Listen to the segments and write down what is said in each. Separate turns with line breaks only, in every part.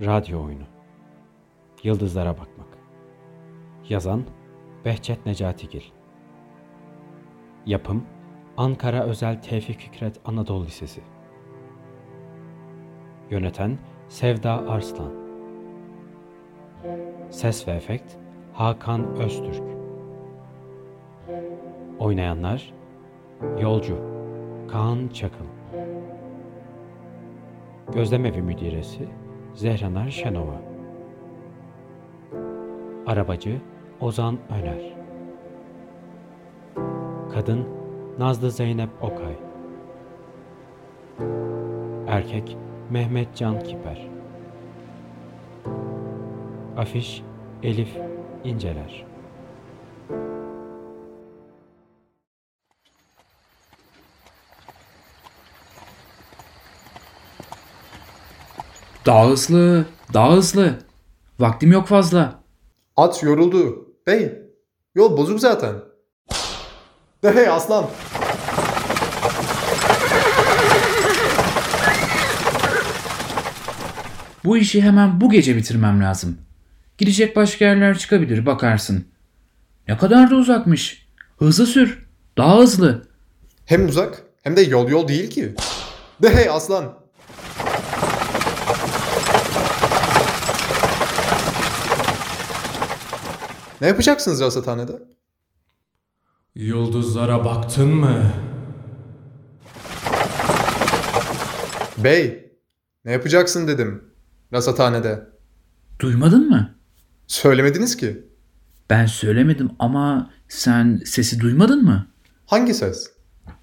Radyo oyunu. Yıldızlara bakmak. Yazan Behçet Necatigil. Yapım Ankara Özel Tevfik Fikret Anadolu Lisesi. Yöneten Sevda Arslan. Ses ve efekt Hakan Öztürk. Oynayanlar Yolcu Kaan Çakıl. Gözlem Evi Müdiresi Zehranar Şenova. Arabacı Ozan Öner. Kadın Nazlı Zeynep Okay. Erkek Mehmet Can Kiper. Afiş Elif İnceler.
Daha hızlı, daha hızlı. Vaktim yok fazla.
At yoruldu. Bey, yol bozuk zaten. De hey aslan.
Bu işi hemen bu gece bitirmem lazım. Gidecek başka yerler çıkabilir bakarsın. Ne kadar da uzakmış. Hızlı sür. Daha hızlı.
Hem uzak hem de yol yol değil ki. De hey aslan. Ne yapacaksınız rasathanede?
Yıldızlara baktın mı?
Bey, ne yapacaksın dedim. Rasathanede.
Duymadın mı?
Söylemediniz ki.
Ben söylemedim ama sen sesi duymadın mı?
Hangi ses?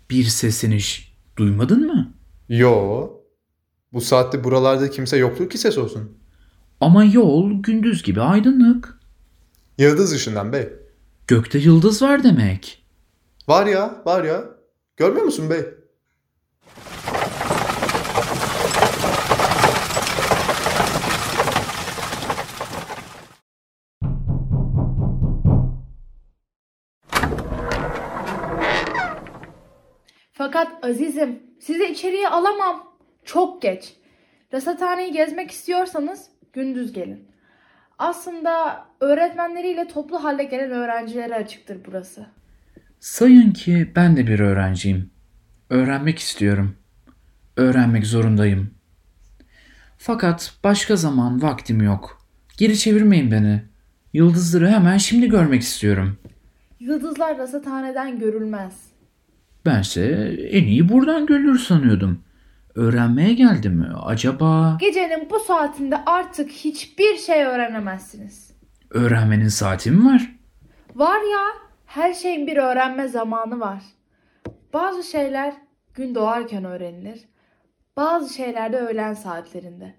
Bir sesleniş. Duymadın mı?
Yo. Bu saatte buralarda kimse yoktur ki ses olsun.
Ama yol gündüz gibi aydınlık.
Yıldız ışından bey.
Gökte yıldız var demek.
Var ya, var ya. Görmüyor musun bey?
Fakat azizim sizi içeriye alamam. Çok geç. Rasathaneyi gezmek istiyorsanız gündüz gelin. Aslında öğretmenleriyle toplu halde gelen öğrencilere açıktır burası.
Sayın ki ben de bir öğrenciyim. Öğrenmek istiyorum. Öğrenmek zorundayım. Fakat başka zaman vaktim yok. Geri çevirmeyin beni. Yıldızları hemen şimdi görmek istiyorum.
Yıldızlar rasathaneden görülmez.
Bense en iyi buradan görülür sanıyordum. Öğrenmeye geldim mi? Acaba
Gecenin bu saatinde artık hiçbir şey öğrenemezsiniz.
öğrenmenin saati mi var?
Var ya her şeyin bir öğrenme zamanı var. Bazı şeyler gün doğarken öğrenilir. Bazı şeyler de öğlen saatlerinde.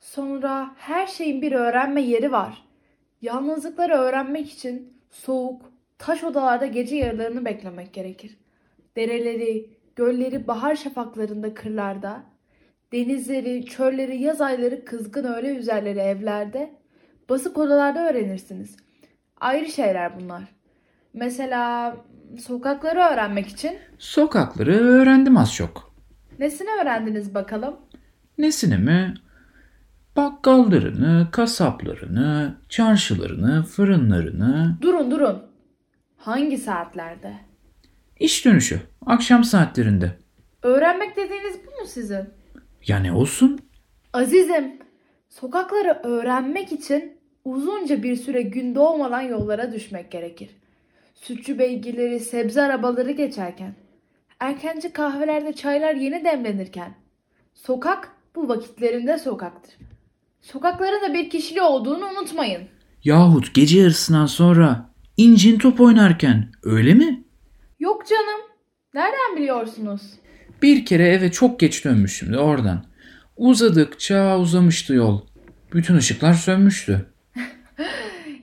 Sonra her şeyin bir öğrenme yeri var. Yalnızlıkları öğrenmek için soğuk, taş odalarda gece yarılarını beklemek gerekir. Dereleri, gölleri bahar şafaklarında kırlarda, denizleri, çölleri, yaz ayları kızgın öğle üzerleri evlerde, basık odalarda öğrenirsiniz. Ayrı şeyler bunlar. Mesela sokakları öğrenmek için
Sokakları öğrendim az çok.
nesini öğrendiniz bakalım?
Nesini mi? Bakkallarını, kasaplarını, çarşılarını, fırınlarını,
Durun durun. Hangi saatlerde?
iş dönüşü, akşam saatlerinde.
Öğrenmek dediğiniz bu mu sizin?
Ya ne olsun?
Azizim, sokakları öğrenmek için uzunca bir süre gün doğmadan yollara düşmek gerekir. Sütçü beygirleri, sebze arabaları geçerken, erkenci kahvelerde çaylar yeni demlenirken, sokak bu vakitlerinde sokaktır. Sokakların da bir kişiliği olduğunu unutmayın.
Yahut gece yarısından sonra incin top oynarken öyle mi?
Yok canım, nereden biliyorsunuz?
Bir kere eve çok geç dönmüştüm de oradan. Uzadıkça uzamıştı yol. Bütün ışıklar sönmüştü.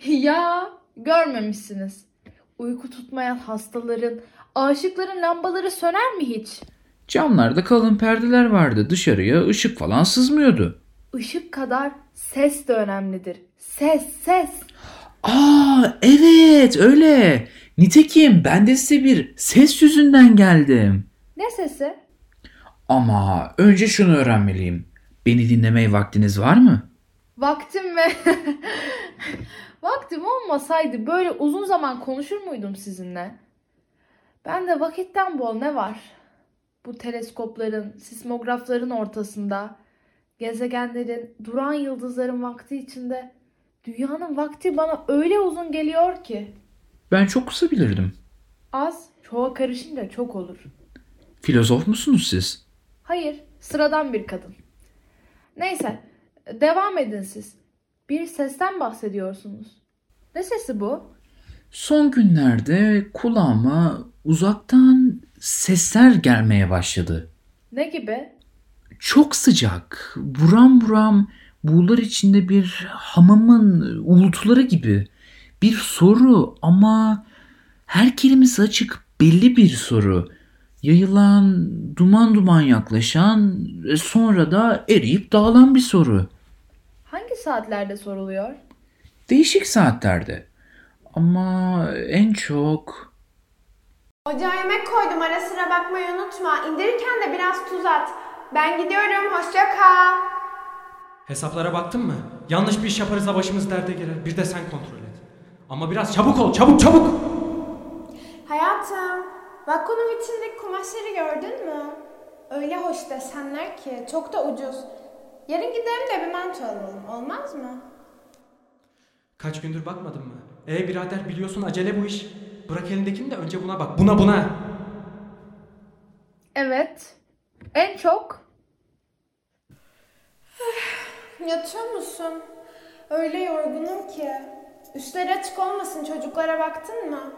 Ya görmemişsiniz. Uyku tutmayan hastaların, aşıkların lambaları söner mi hiç?
Camlarda kalın perdeler vardı. Dışarıya ışık falan sızmıyordu.
Işık kadar ses de önemlidir. Ses, ses.
Aa evet öyle. Nitekim ben de size bir ses yüzünden geldim.
Ne sesi?
Ama önce şunu öğrenmeliyim. Beni dinlemeye vaktiniz var mı?
Vaktim ve vaktim olmasaydı böyle uzun zaman konuşur muydum sizinle? Ben de vakitten bol ne var? Bu teleskopların, sismografların ortasında, gezegenlerin, duran yıldızların vakti içinde dünyanın vakti bana öyle uzun geliyor ki.
Ben çok kısa bilirdim.
Az, çoğa karışınca çok olur.
Filozof musunuz siz?
Hayır, sıradan bir kadın. Neyse, devam edin siz. Bir sesten bahsediyorsunuz. Ne sesi bu?
Son günlerde kulağıma uzaktan sesler gelmeye başladı.
Ne gibi?
Çok sıcak, buram buram buğular içinde bir hamamın uğultuları gibi. Bir soru ama her kelimesi açık belli bir soru. Yayılan, duman duman yaklaşan, e, sonra da eriyip dağılan bir soru.
Hangi saatlerde soruluyor?
Değişik saatlerde. Ama en çok
Ocağa yemek koydum ara sıra bakmayı unutma. İndirirken de biraz tuz at. Ben gidiyorum hoşça kal.
Hesaplara baktın mı? Yanlış bir iş yaparız da başımız derde girer. Bir de sen kontrol et. Ama biraz çabuk ol, çabuk çabuk!
Hayatım, vakonun içindeki kumaşları gördün mü? Öyle hoş desenler ki çok da ucuz. Yarın gidelim de bir manto alalım olmaz mı?
Kaç gündür bakmadın mı? E birader biliyorsun acele bu iş. Bırak elindekini de önce buna bak. Buna buna.
Evet. En çok
Yatıyor musun? Öyle yorgunum ki. Üstleri açık olmasın çocuklara baktın mı?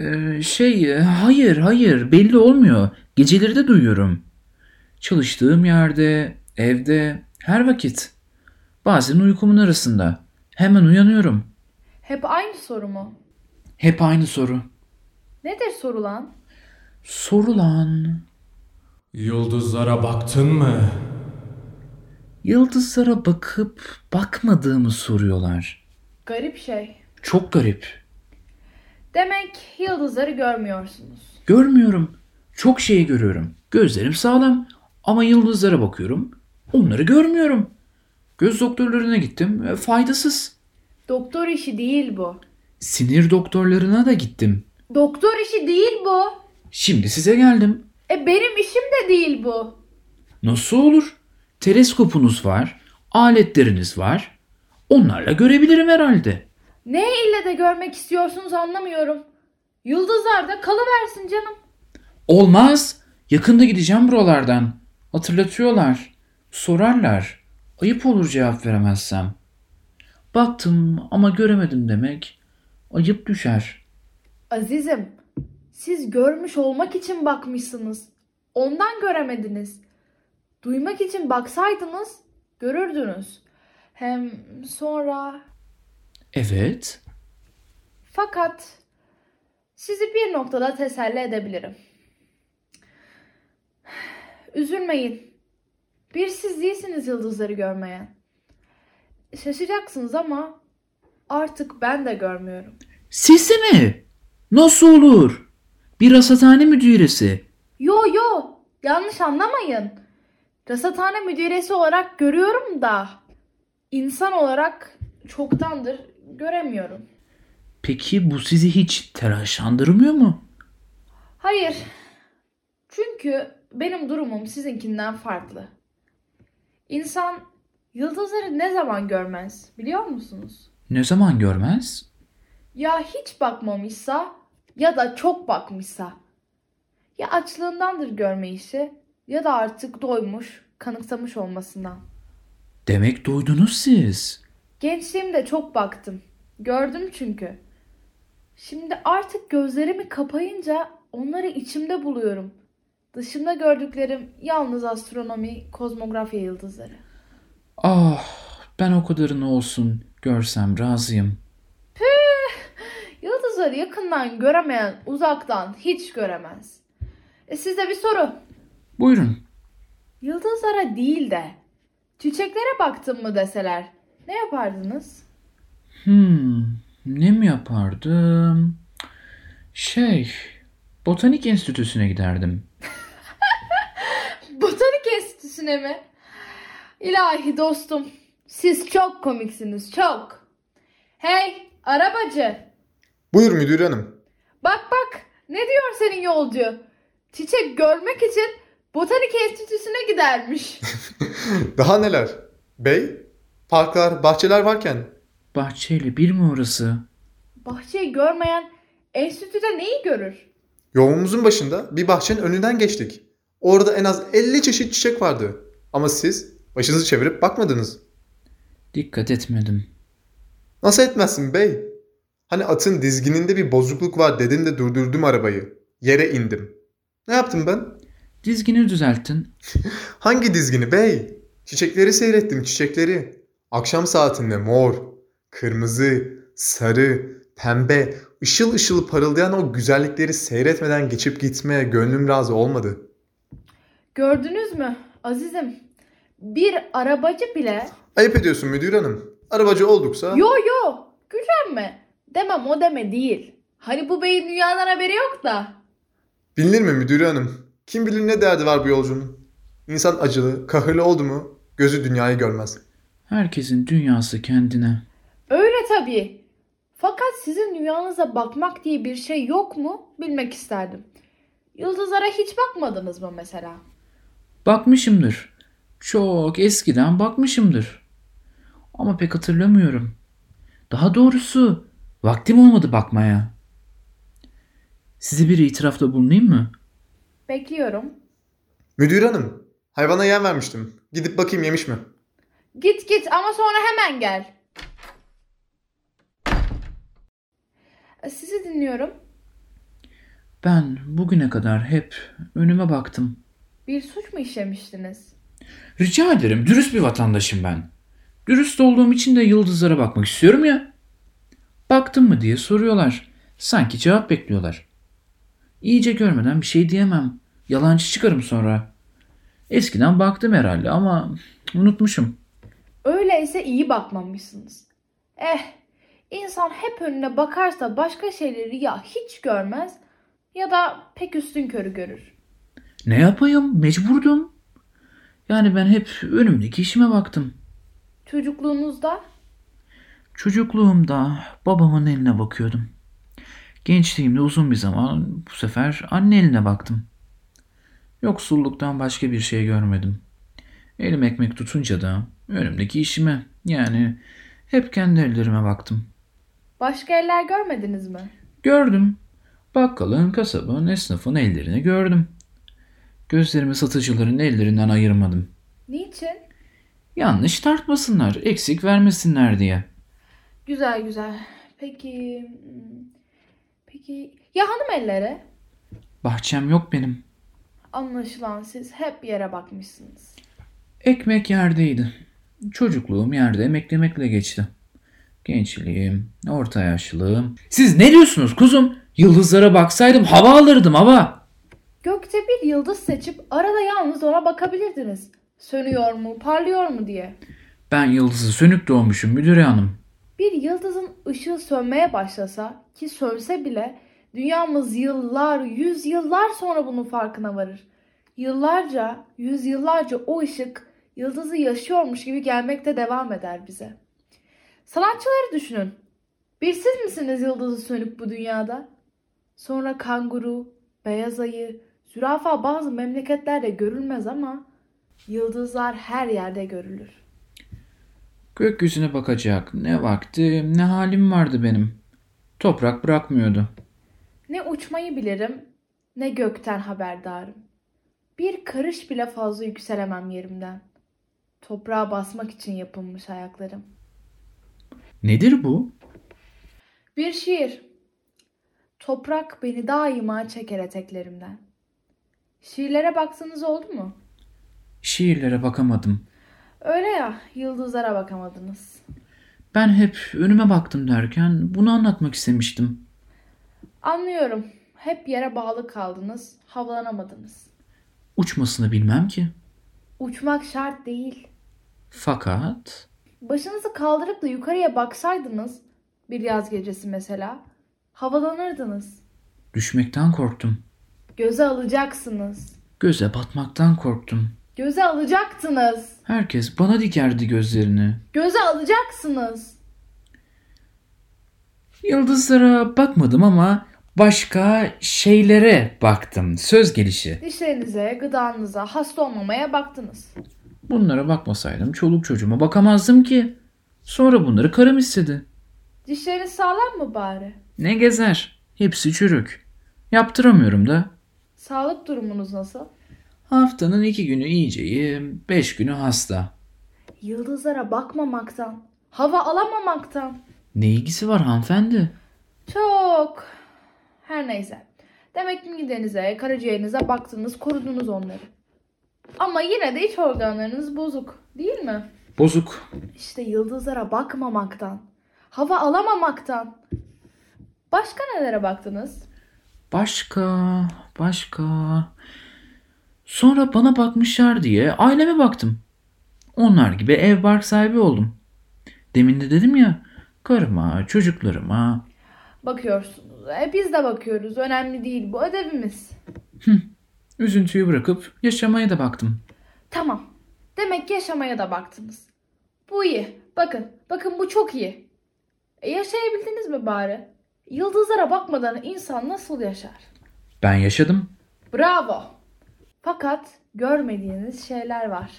Ee, şey, e, hayır, hayır, belli olmuyor. Geceleri de duyuyorum. Çalıştığım yerde, evde, her vakit. Bazen uykumun arasında. Hemen uyanıyorum.
hep aynı soru mu?
Hep aynı soru.
Nedir sorulan?
Sorulan,
Yıldızlara baktın mı?
yıldızlara bakıp bakmadığımı soruyorlar.
Garip şey.
Çok garip.
Demek yıldızları görmüyorsunuz.
Görmüyorum. Çok şeyi görüyorum. Gözlerim sağlam ama yıldızlara bakıyorum. Onları görmüyorum. Göz doktorlarına gittim. E, Faydasız.
Doktor işi değil bu.
Sinir doktorlarına da gittim.
Doktor işi değil bu.
Şimdi size geldim.
E benim işim de değil bu.
Nasıl olur? Teleskopunuz var, aletleriniz var. Onlarla görebilirim herhalde.
Ne ille de görmek istiyorsunuz anlamıyorum. Yıldızlar da kalıversin canım.
Olmaz. Yakında gideceğim buralardan. Hatırlatıyorlar. Sorarlar. Ayıp olur cevap veremezsem. Baktım ama göremedim demek. Ayıp düşer.
Azizim, siz görmüş olmak için bakmışsınız. Ondan göremediniz. Duymak için baksaydınız görürdünüz. Hem sonra
Evet.
fakat sizi bir noktada teselli edebilirim. Üzülmeyin. Bir siz değilsiniz yıldızları görmeye. Şaşacaksınız ama artık ben de görmüyorum.
Siz de mi? Nasıl olur? Bir rasathane müdüresi.
Yo yo yanlış anlamayın. Rasathane müdüresi olarak görüyorum da insan olarak çoktandır göremiyorum.
Peki bu sizi hiç telaşlandırmıyor mu?
Hayır. Çünkü benim durumum sizinkinden farklı. İnsan yıldızları ne zaman görmez biliyor musunuz?
Ne zaman görmez?
Ya hiç bakmamışsa ya da çok bakmışsa. Ya açlığındandır görmeyişi ya da artık doymuş, kanıksamış olmasından.
Demek duydunuz siz.
Gençliğimde çok baktım. Gördüm çünkü. Şimdi artık gözlerimi kapayınca onları içimde buluyorum. Dışımda gördüklerim yalnız astronomi, kozmografya yıldızları.
Ah ben o kadarını olsun görsem razıyım.
Yıldızları yakından göremeyen uzaktan hiç göremez. E size bir soru.
Buyurun.
Yıldızlara değil de çiçeklere baktın mı deseler ne yapardınız?
Hmm, ne mi yapardım? Şey, botanik enstitüsüne giderdim.
Botanik enstitüsüne mi? İlahi dostum, siz çok komiksiniz, çok. Hey, arabacı,
Buyur müdür hanım.
bak bak, ne diyor senin yolcu? Çiçek görmek için botanik enstitüsüne gidermiş.
Daha neler? Bey, parklar, bahçeler varken
Bahçeyle bir mi orası?
Bahçeyi görmeyen enstitüde neyi görür?
Yolumuzun başında bir bahçenin önünden geçtik. Orada en az 50 çeşit çiçek vardı. Ama siz başınızı çevirip bakmadınız.
Dikkat etmedim.
Nasıl etmezsin bey? Hani atın dizgininde bir bozukluk var dedin de durdurdum arabayı. Yere indim. Ne yaptım ben?
Dizgini düzelttin.
Hangi dizgini bey? Çiçekleri seyrettim çiçekleri. Akşam saatinde mor, kırmızı, sarı, pembe, ışıl ışıl parıldayan o güzellikleri seyretmeden geçip gitmeye gönlüm razı olmadı.
Gördünüz mü azizim? Bir arabacı bile
Ayıp ediyorsun müdür hanım. Arabacı olduksa...
yo yo gücenme demem o deme değil. Hani bu beyin dünyadan haberi yok da.
Bilinir mi müdür hanım? Kim bilir ne derdi var bu yolcunun? İnsan acılı, kahırlı oldu mu gözü dünyayı görmez.
Herkesin dünyası kendine.
Öyle tabii. Fakat sizin dünyanıza bakmak diye bir şey yok mu bilmek isterdim. Yıldızlara hiç bakmadınız mı mesela?
Bakmışımdır. Çok eskiden bakmışımdır. Ama pek hatırlamıyorum. Daha doğrusu vaktim olmadı bakmaya. Size bir itirafta bulunayım mı?
Bekliyorum.
Müdür hanım, hayvana yem vermiştim. Gidip bakayım yemiş mi?
Git git ama sonra hemen gel. Sizi dinliyorum.
Ben bugüne kadar hep önüme baktım.
Bir suç mu işlemiştiniz?
Rica ederim dürüst bir vatandaşım ben. Dürüst olduğum için de yıldızlara bakmak istiyorum ya. Baktın mı diye soruyorlar. Sanki cevap bekliyorlar. İyice görmeden bir şey diyemem. Yalancı çıkarım sonra. Eskiden baktım herhalde ama unutmuşum.
Öyleyse iyi bakmamışsınız. Eh, insan hep önüne bakarsa başka şeyleri ya hiç görmez ya da pek üstün körü görür.
Ne yapayım? Mecburdum. Yani ben hep önümdeki işime baktım.
Çocukluğunuzda
Çocukluğumda babamın eline bakıyordum. Gençliğimde uzun bir zaman bu sefer anne eline baktım. Yoksulluktan başka bir şey görmedim. Elim ekmek tutunca da önümdeki işime yani hep kendi ellerime baktım.
başka eller görmediniz mi?
Gördüm. Bakkalın, kasabın, esnafın ellerini gördüm. Gözlerimi satıcıların ellerinden ayırmadım.
Niçin?
Yanlış tartmasınlar, eksik vermesinler diye.
Güzel güzel. Peki... hmm, Peki... Ya hanım elleri?
Bahçem yok benim.
Anlaşılan siz hep yere bakmışsınız.
Ekmek yerdeydi. Çocukluğum yerde emeklemekle geçti. Gençliğim, orta yaşlılığım. Siz ne diyorsunuz kuzum? Yıldızlara baksaydım hava alırdım hava.
Gökte bir yıldız seçip arada yalnız ona bakabilirdiniz. Sönüyor mu, parlıyor mu diye.
Ben yıldızı sönük doğmuşum müdüre hanım.
Bir yıldızın ışığı sönmeye başlasa ki sönse bile dünyamız yıllar, yüz yıllar sonra bunun farkına varır. Yıllarca, yüz yıllarca o ışık yıldızı yaşıyormuş gibi gelmekte devam eder bize. Sanatçıları düşünün. Bir siz misiniz yıldızı sönük bu dünyada? Sonra kanguru, beyaz ayı, zürafa bazı memleketlerde görülmez ama yıldızlar her yerde görülür.
Gökyüzüne bakacak ne vaktim ne halim vardı benim. Toprak bırakmıyordu.
Ne uçmayı bilirim, ne gökten haberdarım. Bir karış bile fazla yükselemem yerimden. Toprağa basmak için yapılmış ayaklarım.
Nedir bu?
Bir şiir. Toprak beni daima çeker eteklerimden. Şiirlere baktınız oldu mu?
Şiirlere bakamadım.
Öyle ya, yıldızlara bakamadınız.
Ben hep önüme baktım derken bunu anlatmak istemiştim.
Anlıyorum. Hep yere bağlı kaldınız, havlanamadınız.
Uçmasını bilmem ki.
Uçmak şart değil.
Fakat...
Başınızı kaldırıp da yukarıya baksaydınız bir yaz gecesi mesela havalanırdınız.
Düşmekten korktum.
Göze alacaksınız.
Göze batmaktan korktum.
Göze alacaktınız.
Herkes bana dikerdi gözlerini.
Göze alacaksınız.
Yıldızlara bakmadım ama başka şeylere baktım. Söz gelişi.
Dişlerinize, gıdanıza, hasta olmamaya baktınız.
Bunlara bakmasaydım çoluk çocuğuma bakamazdım ki. Sonra bunları karım istedi.
Dişleriniz sağlam mı bari?
Ne gezer? Hepsi çürük. Yaptıramıyorum da.
Sağlık durumunuz nasıl?
Haftanın iki günü iyiceyim, beş günü hasta.
Yıldızlara bakmamaktan, hava alamamaktan.
Ne ilgisi var hanımefendi?
Çok. Her neyse. Demek ki midenize, karaciğerinize baktınız, korudunuz onları. Ama yine de iç organlarınız bozuk, değil mi?
Bozuk.
İşte yıldızlara bakmamaktan, hava alamamaktan. Başka nelere baktınız?
Başka, başka. Sonra bana bakmışlar diye aileme baktım. Onlar gibi ev bark sahibi oldum. Demin de dedim ya, karıma, çocuklarıma.
Bakıyorsunuz. E biz de bakıyoruz. Önemli değil bu ödevimiz.
Üzüntüyü bırakıp yaşamaya da baktım.
Tamam. Demek ki yaşamaya da baktınız. Bu iyi. Bakın. Bakın bu çok iyi. E yaşayabildiniz mi bari? Yıldızlara bakmadan insan nasıl yaşar?
Ben yaşadım.
Bravo. Fakat görmediğiniz şeyler var.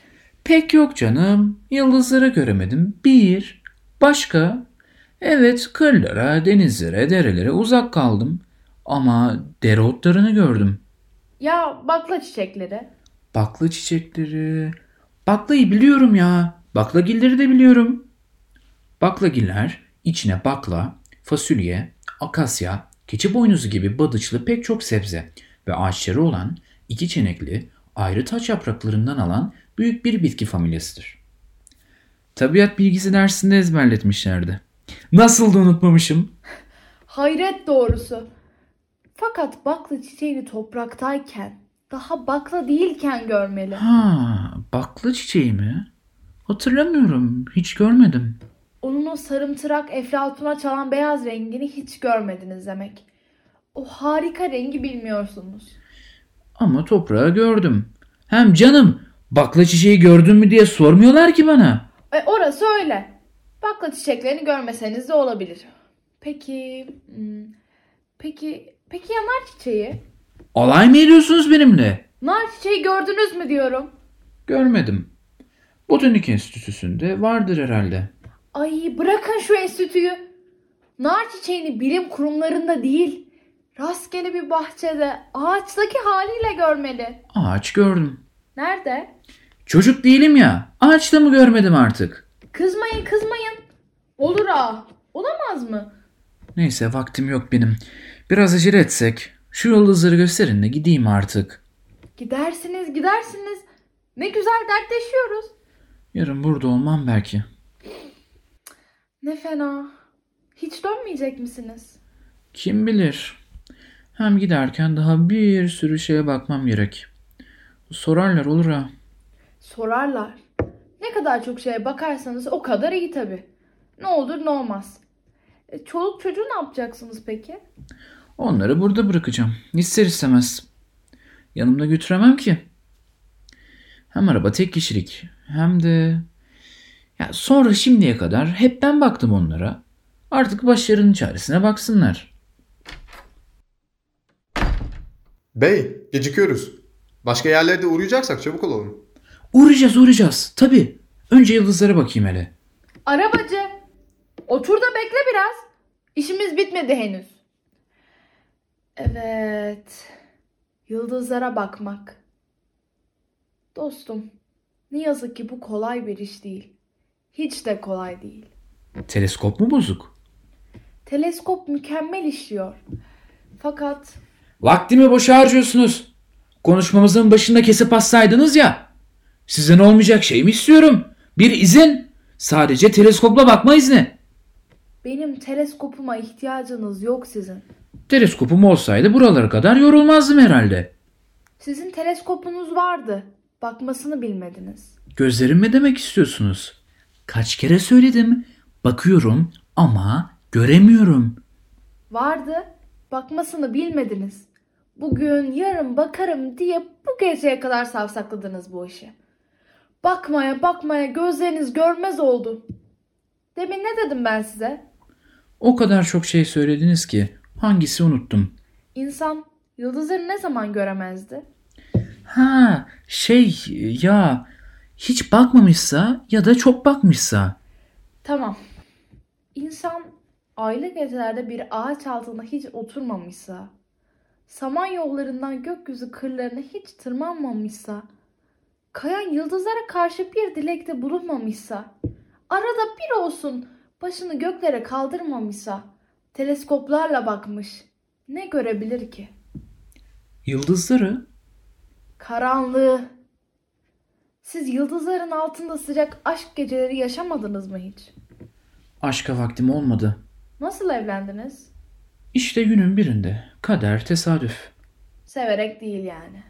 Pek yok canım. Yıldızları göremedim. Bir. Başka? Evet kırlara, denizlere, derelere uzak kaldım. Ama dereotlarını gördüm.
Ya bakla çiçekleri.
Bakla çiçekleri. Baklayı biliyorum ya. Baklagilleri de biliyorum. Baklagiller içine bakla, fasulye, akasya, keçi boynuzu gibi badıçlı pek çok sebze ve ağaçları olan iki çenekli ayrı taç yapraklarından alan büyük bir bitki familyasıdır. Tabiat bilgisi dersinde ezberletmişlerdi. Nasıl da unutmamışım.
Hayret doğrusu. Fakat bakla çiçeğini topraktayken, daha bakla değilken görmeli.
Ha, bakla çiçeği mi? Hatırlamıyorum. Hiç görmedim.
Onun o sarımtırak eflatuna çalan beyaz rengini hiç görmediniz demek. O harika rengi bilmiyorsunuz.
Ama toprağı gördüm. Hem canım bakla çiçeği gördün mü diye sormuyorlar ki bana.
E orası öyle. Bakla çiçeklerini görmeseniz de olabilir. Peki, hmm, peki, peki ya nar çiçeği?
Alay mı ediyorsunuz benimle?
Nar çiçeği gördünüz mü diyorum.
Görmedim. Botanik enstitüsünde vardır herhalde.
Ay bırakın şu enstitüyü. Nar çiçeğini bilim kurumlarında değil, rastgele bir bahçede ağaçtaki haliyle görmeli.
Ağaç gördüm.
Nerede?
Çocuk değilim ya. Ağaçta mı görmedim artık?
Kızmayın kızmayın. Olur ha. Olamaz mı?
Neyse vaktim yok benim. Biraz acele etsek. Şu yıldızları gösterin de gideyim artık.
Gidersiniz gidersiniz. Ne güzel dertleşiyoruz.
Yarın burada olmam belki.
Ne fena. Hiç dönmeyecek misiniz?
Kim bilir? Hem giderken daha bir sürü şeye bakmam gerek. Sorarlar olur ha.
Sorarlar. Ne kadar çok şeye bakarsanız o kadar iyi tabii. Ne olur ne olmaz. E, çoluk çocuğu ne yapacaksınız peki?
Onları burada bırakacağım. İster istemez. Yanımda götüremem ki. Hem araba tek kişilik hem de... Ya sonra şimdiye kadar hep ben baktım onlara. Artık başlarının çaresine baksınlar.
Bey, gecikiyoruz. Başka yerlerde uğrayacaksak çabuk olalım.
Uğrayacağız uğrayacağız. Tabii. Önce yıldızlara bakayım hele.
Arabacı. Otur da bekle biraz. İşimiz bitmedi henüz. Evet. Yıldızlara bakmak. Dostum, ne yazık ki bu kolay bir iş değil. Hiç de kolay değil.
Teleskop mu bozuk?
Teleskop mükemmel işliyor. Fakat
Vaktimi boşa harcıyorsunuz. Konuşmamızın başında kesip assaydınız ya. Sizden olmayacak şey mi istiyorum? Bir izin. Sadece teleskopla bakma izni.
benim teleskopuma ihtiyacınız yok sizin.
Teleskopum olsaydı buralara kadar yorulmazdım herhalde.
Sizin teleskopunuz vardı. Bakmasını bilmediniz.
Gözlerimle demek istiyorsunuz. Kaç kere söyledim. Bakıyorum ama göremiyorum.
Vardı. Bakmasını bilmediniz. Bugün yarın bakarım diye bu geceye kadar savsakladınız bu işi. Bakmaya bakmaya gözleriniz görmez oldu. Demin ne dedim ben size?
O kadar çok şey söylediniz ki hangisi unuttum.
İnsan yıldızları ne zaman göremezdi?
Ha şey ya hiç bakmamışsa ya da çok bakmışsa.
Tamam. İnsan aylık gecelerde bir ağaç altında hiç oturmamışsa, saman yollarından gökyüzü kırlarına hiç tırmanmamışsa, kayan yıldızlara karşı bir dilekte bulunmamışsa, arada bir olsun başını göklere kaldırmamışsa, teleskoplarla bakmış, ne görebilir ki?
Yıldızları
Karanlığı. Siz yıldızların altında sıcak aşk geceleri yaşamadınız mı hiç?
aşka vaktim olmadı.
Nasıl evlendiniz?
İşte günün birinde kader tesadüf.
Severek değil yani.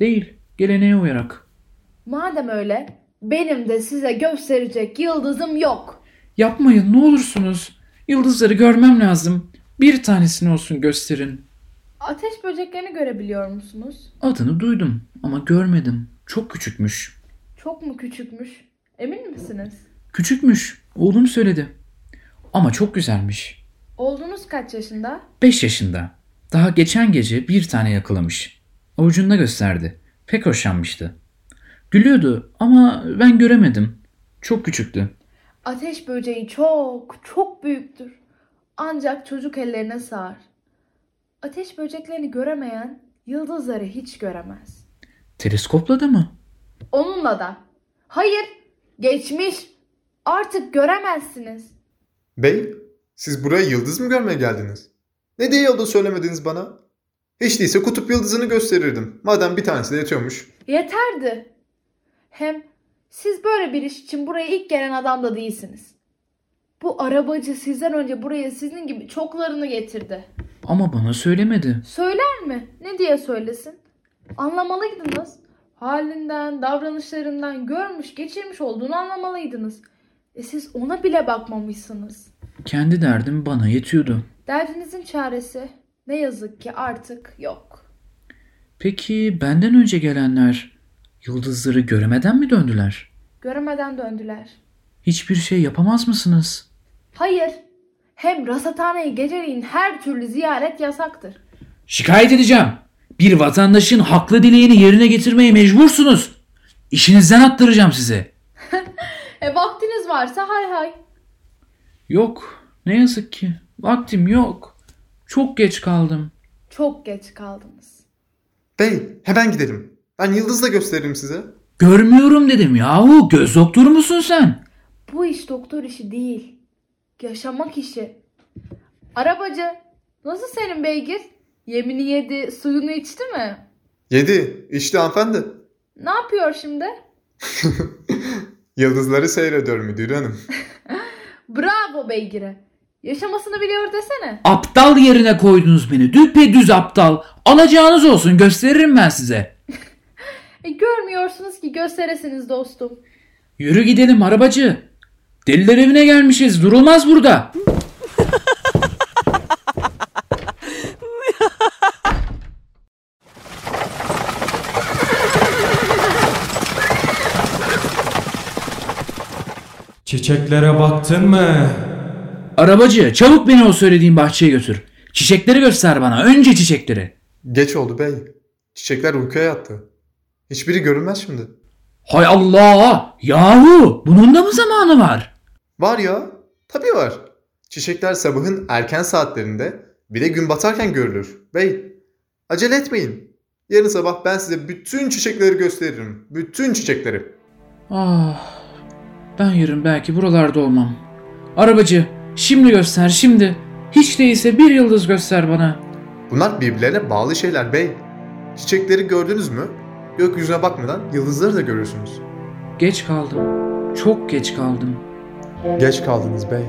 Değil geleneğe uyarak.
Madem öyle, benim de size gösterecek yıldızım yok.
Yapmayın ne olursunuz. Yıldızları görmem lazım. Bir tanesini olsun gösterin.
Ateş böceklerini görebiliyor musunuz?
Adını duydum ama görmedim. Çok küçükmüş.
Çok mu küçükmüş? Emin misiniz?
Küçükmüş. Oğlum söyledi. Ama çok güzelmiş.
Oğlunuz kaç yaşında?
5 yaşında. Daha geçen gece bir tane yakalamış. Avucunda gösterdi. Pek hoşlanmıştı. Gülüyordu ama ben göremedim. Çok küçüktü.
Ateş böceği çok, çok büyüktür. Ancak çocuk ellerine sığar. Ateş böceklerini göremeyen yıldızları hiç göremez.
Teleskopla da mı?
Onunla da. Hayır, geçmiş. Artık göremezsiniz.
Bey, siz buraya yıldız mı görmeye geldiniz? Ne diye yolda söylemediniz bana? Hiç değilse kutup yıldızını gösterirdim. Madem bir tanesi de yetiyormuş.
Yeterdi. Hem siz böyle bir iş için buraya ilk gelen adam da değilsiniz. Bu arabacı sizden önce buraya sizin gibi çoklarını getirdi.
Ama bana söylemedi.
Söyler mi? Ne diye söylesin? Anlamalıydınız. Halinden, davranışlarından görmüş, geçirmiş olduğunu anlamalıydınız. E siz ona bile bakmamışsınız.
Kendi derdim bana yetiyordu.
Derdinizin çaresi ne yazık ki artık yok.
Peki benden önce gelenler yıldızları göremeden mi döndüler?
Göremeden döndüler.
Hiçbir şey yapamaz mısınız?
Hayır. Hem rasathaneyi geceleyin her türlü ziyaret yasaktır.
Şikayet edeceğim. Bir vatandaşın haklı dileğini yerine getirmeye mecbursunuz. İşinizden attıracağım sizi.
E vaktiniz varsa hay hay.
Yok. Ne yazık ki. Vaktim yok. Çok geç kaldım.
Çok geç kaldınız.
Bey, hemen gidelim. Ben yıldız da gösteririm size.
Görmüyorum dedim yahu. Göz doktoru musun sen?
Bu iş doktor işi değil. Yaşamak işi. Arabacı, nasıl senin beygir? Yemini yedi, suyunu içti mi?
7. İşte hanımefendi.
Ne yapıyor şimdi?
Yıldızları seyrediyorum müdür hanım.
Bravo beygire. Yaşamasını biliyor desene.
Aptal yerine koydunuz beni. Düpedüz aptal. Alacağınız olsun. Gösteririm ben size.
E görmüyorsunuz ki gösteresiniz dostum.
Yürü gidelim arabacı. Deliler evine gelmişiz. Durulmaz burada.
Çiçeklere baktın mı?
Arabacı çabuk beni o söylediğin bahçeye götür. Çiçekleri göster bana. Önce çiçekleri.
Geç oldu bey. Çiçekler uykuya yattı. Hiçbiri görünmez şimdi.
Hay Allah! Yahu! Bunun da mı zamanı var?
Var ya. Tabii var. Çiçekler sabahın erken saatlerinde bir de gün batarken görülür. Bey, acele etmeyin. Yarın sabah ben size bütün çiçekleri gösteririm. Bütün çiçekleri.
Ah, ben yarın belki buralarda olmam. Arabacı, şimdi göster, şimdi. Hiç değilse bir yıldız göster bana.
Bunlar birbirlerine bağlı şeyler bey. Çiçekleri gördünüz mü? Gökyüzüne bakmadan yıldızları da görürsünüz.
Geç kaldım. Çok geç kaldım.
Geç kaldınız bey.